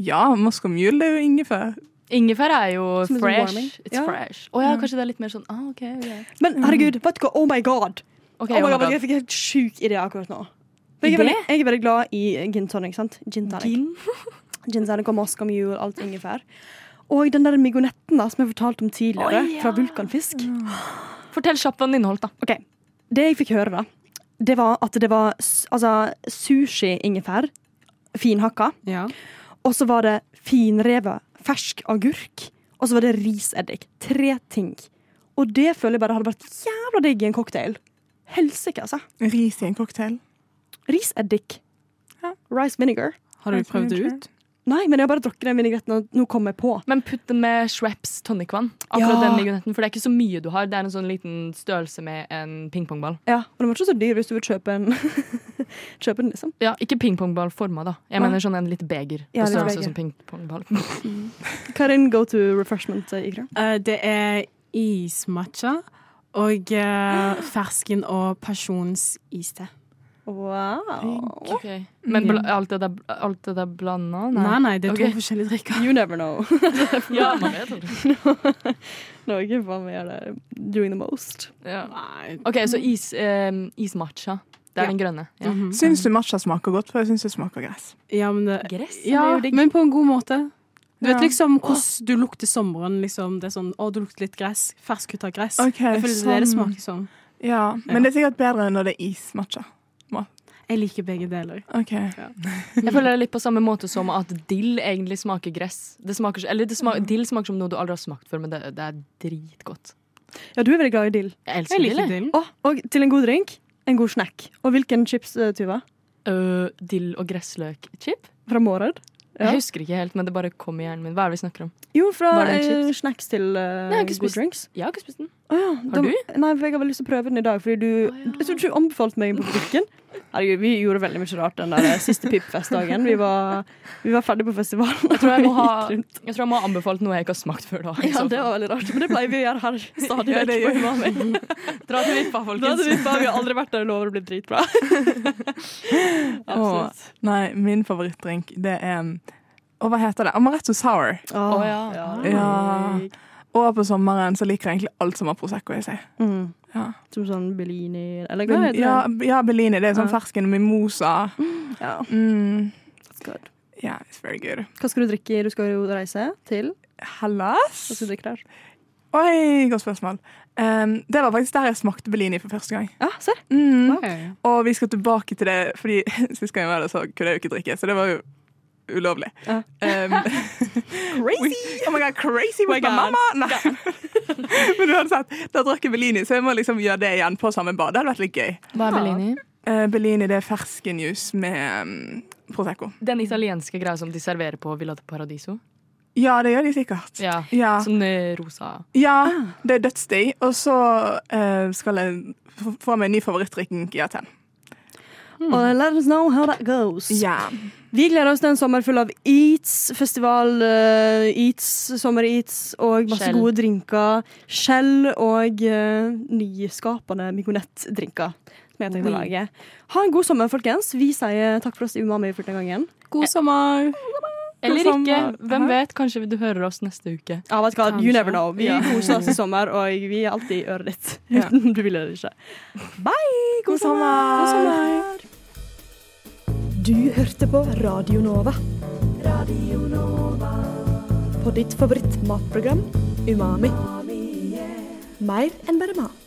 B: Ja, Moscow Mule det er jo ingefær.
E: Ingefær er jo
B: Som en sånn
E: fresh.
B: warming.
E: It's
B: Ja.
E: fresh. Å ja,
B: Mm.
E: kanskje det er litt mer sånn ah, OK. ok.
D: Men herregud, vet du hva? Oh my god.
E: Ok,
D: oh my god,
E: god.
D: Jeg fikk en helt sjuk idé akkurat nå. Men jeg, er veldig,
E: Idé?
D: jeg er veldig glad i gin tonic. sant? Gin tonic. <laughs> Gin, tonic og Moscow Mule, alt ingefær. Og den der migonetten da, som jeg fortalte om tidligere,
E: Å, ja.
D: fra vulkanfisk.
E: Fortell kjapt hva den inneholdt, da.
D: Ok, Det jeg fikk høre, da, det var at det var s- altså, sushi-ingefær, finhakka. Og så var det finrevet fersk agurk. Og så var det riseddik. Tre ting. Og det føler jeg bare hadde vært jævla digg i en cocktail. Helsike, altså.
B: Ris i en cocktail?
D: Riseddik. Rice vinegar.
F: Har du Rice prøvd det vinegar.
D: ut? Nei, men jeg har bare drukket den vinegretten, og nå kom jeg på.
E: Men putt den med Shreps tonicvann. Akkurat
D: Ja.
E: den migonetten, for det er ikke så mye du har. Det er en sånn liten størrelse med en pingpongball.
D: Ja, og den var ikke så dyr hvis du vil kjøpe en. <laughs> kjøpe den, liksom.
E: Ja, ikke pingpongballforma, da. Jeg
D: Nei.
E: mener sånn en litt beger.
D: Ja, litt
E: på størrelse
D: beger.
E: som pingpongball.
D: Hva er din go to refreshment, eh, Ikra?
F: Eh, det er ismatcha og <gasps> eh, fersken- og pasjonsiste.
D: Wow.
E: Men bla, alt det der, alt det der blanda?
F: Nei, nei, det er to
E: Ok.
F: forskjellige drikker.
D: You never know. <laughs>
E: Ja, man vet aldri.
D: Norge, hva vi gjør der? Doing the most.
E: Ja. OK, så is, eh, ismatcha. Det er
B: Ja.
E: den grønne. Ja. Mm.
F: Mm-hmm.
B: Syns du matcha smaker godt? For jeg syns det smaker gress.
F: Ja, men, det,
E: Gress,
F: ja,
E: det er jo digg.
F: men på en god måte. Du
B: Ja.
F: vet liksom hvordan du lukter sommeren. Liksom. Det er sånn, å, du lukter litt gress. Ferskkutta gress.
B: Ok,
F: jeg føler det er det det
B: sånn.
F: smaker som.
B: Ja, men
F: Ja.
B: det er sikkert bedre når det er ismatcha. Ma-
F: Jeg liker begge deler.
B: Ok.
E: Jeg føler det er litt på samme måte som at dill egentlig smaker gress. Det smaker, så- eller det sma- dill smaker som noe du aldri har smakt før, men det, det er dritgodt.
D: Ja, du er veldig glad i dill.
E: Jeg elsker Jeg liker dill, jeg. dill.
D: Å, og til en god drink, en god snack. Og hvilken chips, eh, Tuva?
E: Øh, dill og gressløkchip?
D: Fra Mårød? Ja.
E: Jeg husker ikke helt, men det bare kom i hjernen min. Hva er det vi snakker om?
D: Jo, fra
E: Var det en
D: eh,
E: chips?
D: snacks til eh,
E: Nei, jeg har ikke
D: good
E: spist-
D: drinks.
E: Jeg har ikke spist den.
D: Å ja,
E: Har
D: da-
E: du?
D: Nei, for jeg har veldig lyst til å prøve den i dag, fordi du Jeg tror ikke du anbefalte meg på butikken. Herregud, vi gjorde veldig mye rart den der siste pipfestdagen. Vi var, vi var ferdig på festivalen.
E: Jeg tror
D: <laughs>
E: jeg, må ha,
D: Vi gikk rundt.
E: jeg tror jeg må ha anbefalt noe jeg ikke har smakt <laughs> før. da. liksom. i
D: Ja,
E: så
D: det
E: fall.
D: var veldig rart. Men det pleier vi å gjøre her stadig
E: <laughs> Ja,
D: vekk.
E: det
D: på
E: gjør vi.
D: Umami.
E: <laughs> Dra til Vippa,
D: Dra
E: folkens.
D: til Vippa. Vi har aldri vært der, jeg lover å bli
E: <laughs>
D: dritbra.
B: Åh, nei, min favorittdrink, det er Og hva heter det? Amaretto sour.
D: Åh, Åh, ja. ja.
B: Ja. Og på sommeren så liker jeg egentlig alt som har Prosecco i seg.
D: Mm.
B: Ja.
D: Som sånn Bellini Eller hva
B: Men,
D: heter det?
B: ja, ja, Bellini. Det er sånn
D: Ja.
B: fersken mimosa.
D: Ja.
B: Mm.
D: That's good.
B: Yeah, it's very good.
D: Hva skal du drikke? Du skal jo reise til
B: Hellas?
D: Hva skal du drikke der?
B: Oi, godt spørsmål. Um, det var faktisk der jeg smakte Bellini for første gang.
D: Ja, ser.
B: Mm.
F: Wow.
B: Og vi skal tilbake til det, fordi <laughs> sist gang jeg var der, så kunne jeg jo ikke drikke, så det var jo ulovlig. Um,
D: crazy!
B: oh my god, crazy
D: My
B: with my
D: God.
B: mamma! Nei. <laughs> Men uansett, da drakk jeg Bellini, så jeg må liksom gjøre det igjen på samme bad. Det hadde vært litt gøy.
E: Hva er Bellini?
B: Eh, Bellini det er ferskenjuice med um, Prosecco.
E: Den italienske greia som de serverer på Villa de Paradiso.
B: Ja, det gjør de sikkert.
E: Ja,
B: Ja.
E: Sånn eh, rosa
B: Ja, det er dødsdigg. Og så eh, skal jeg f- få meg en ny favorittdrikk i Aten.
D: Og let us know how that goes. Vi gleder oss til en sommer full av eats, festival eh, eats, sommer-eats og masse
E: Skjell.
D: gode drinker. Skjell og eh, nyskapende migonett-drinker. Som jeg tenkte å
E: Oui.
D: lage. Ha en god sommer, folkens. Vi sier takk for oss i Umami for den gangen.
F: God sommer!
E: Eller
D: God
E: ikke.
D: sommer.
E: Hvem vet? Kanskje du hører oss neste uke.
D: Ja, Ah, vet du hva, You
E: Kanskje.
D: never know. Vi
E: Ja.
D: koser oss i sommer, og vi er alltid i øret ditt. <laughs>
E: Ja.
D: du vil det ikke. Bye! God sommer! God sommer.
T: Du hørte på Radio Nova. På ditt favorittmatprogram Umami. Mer enn bare mat.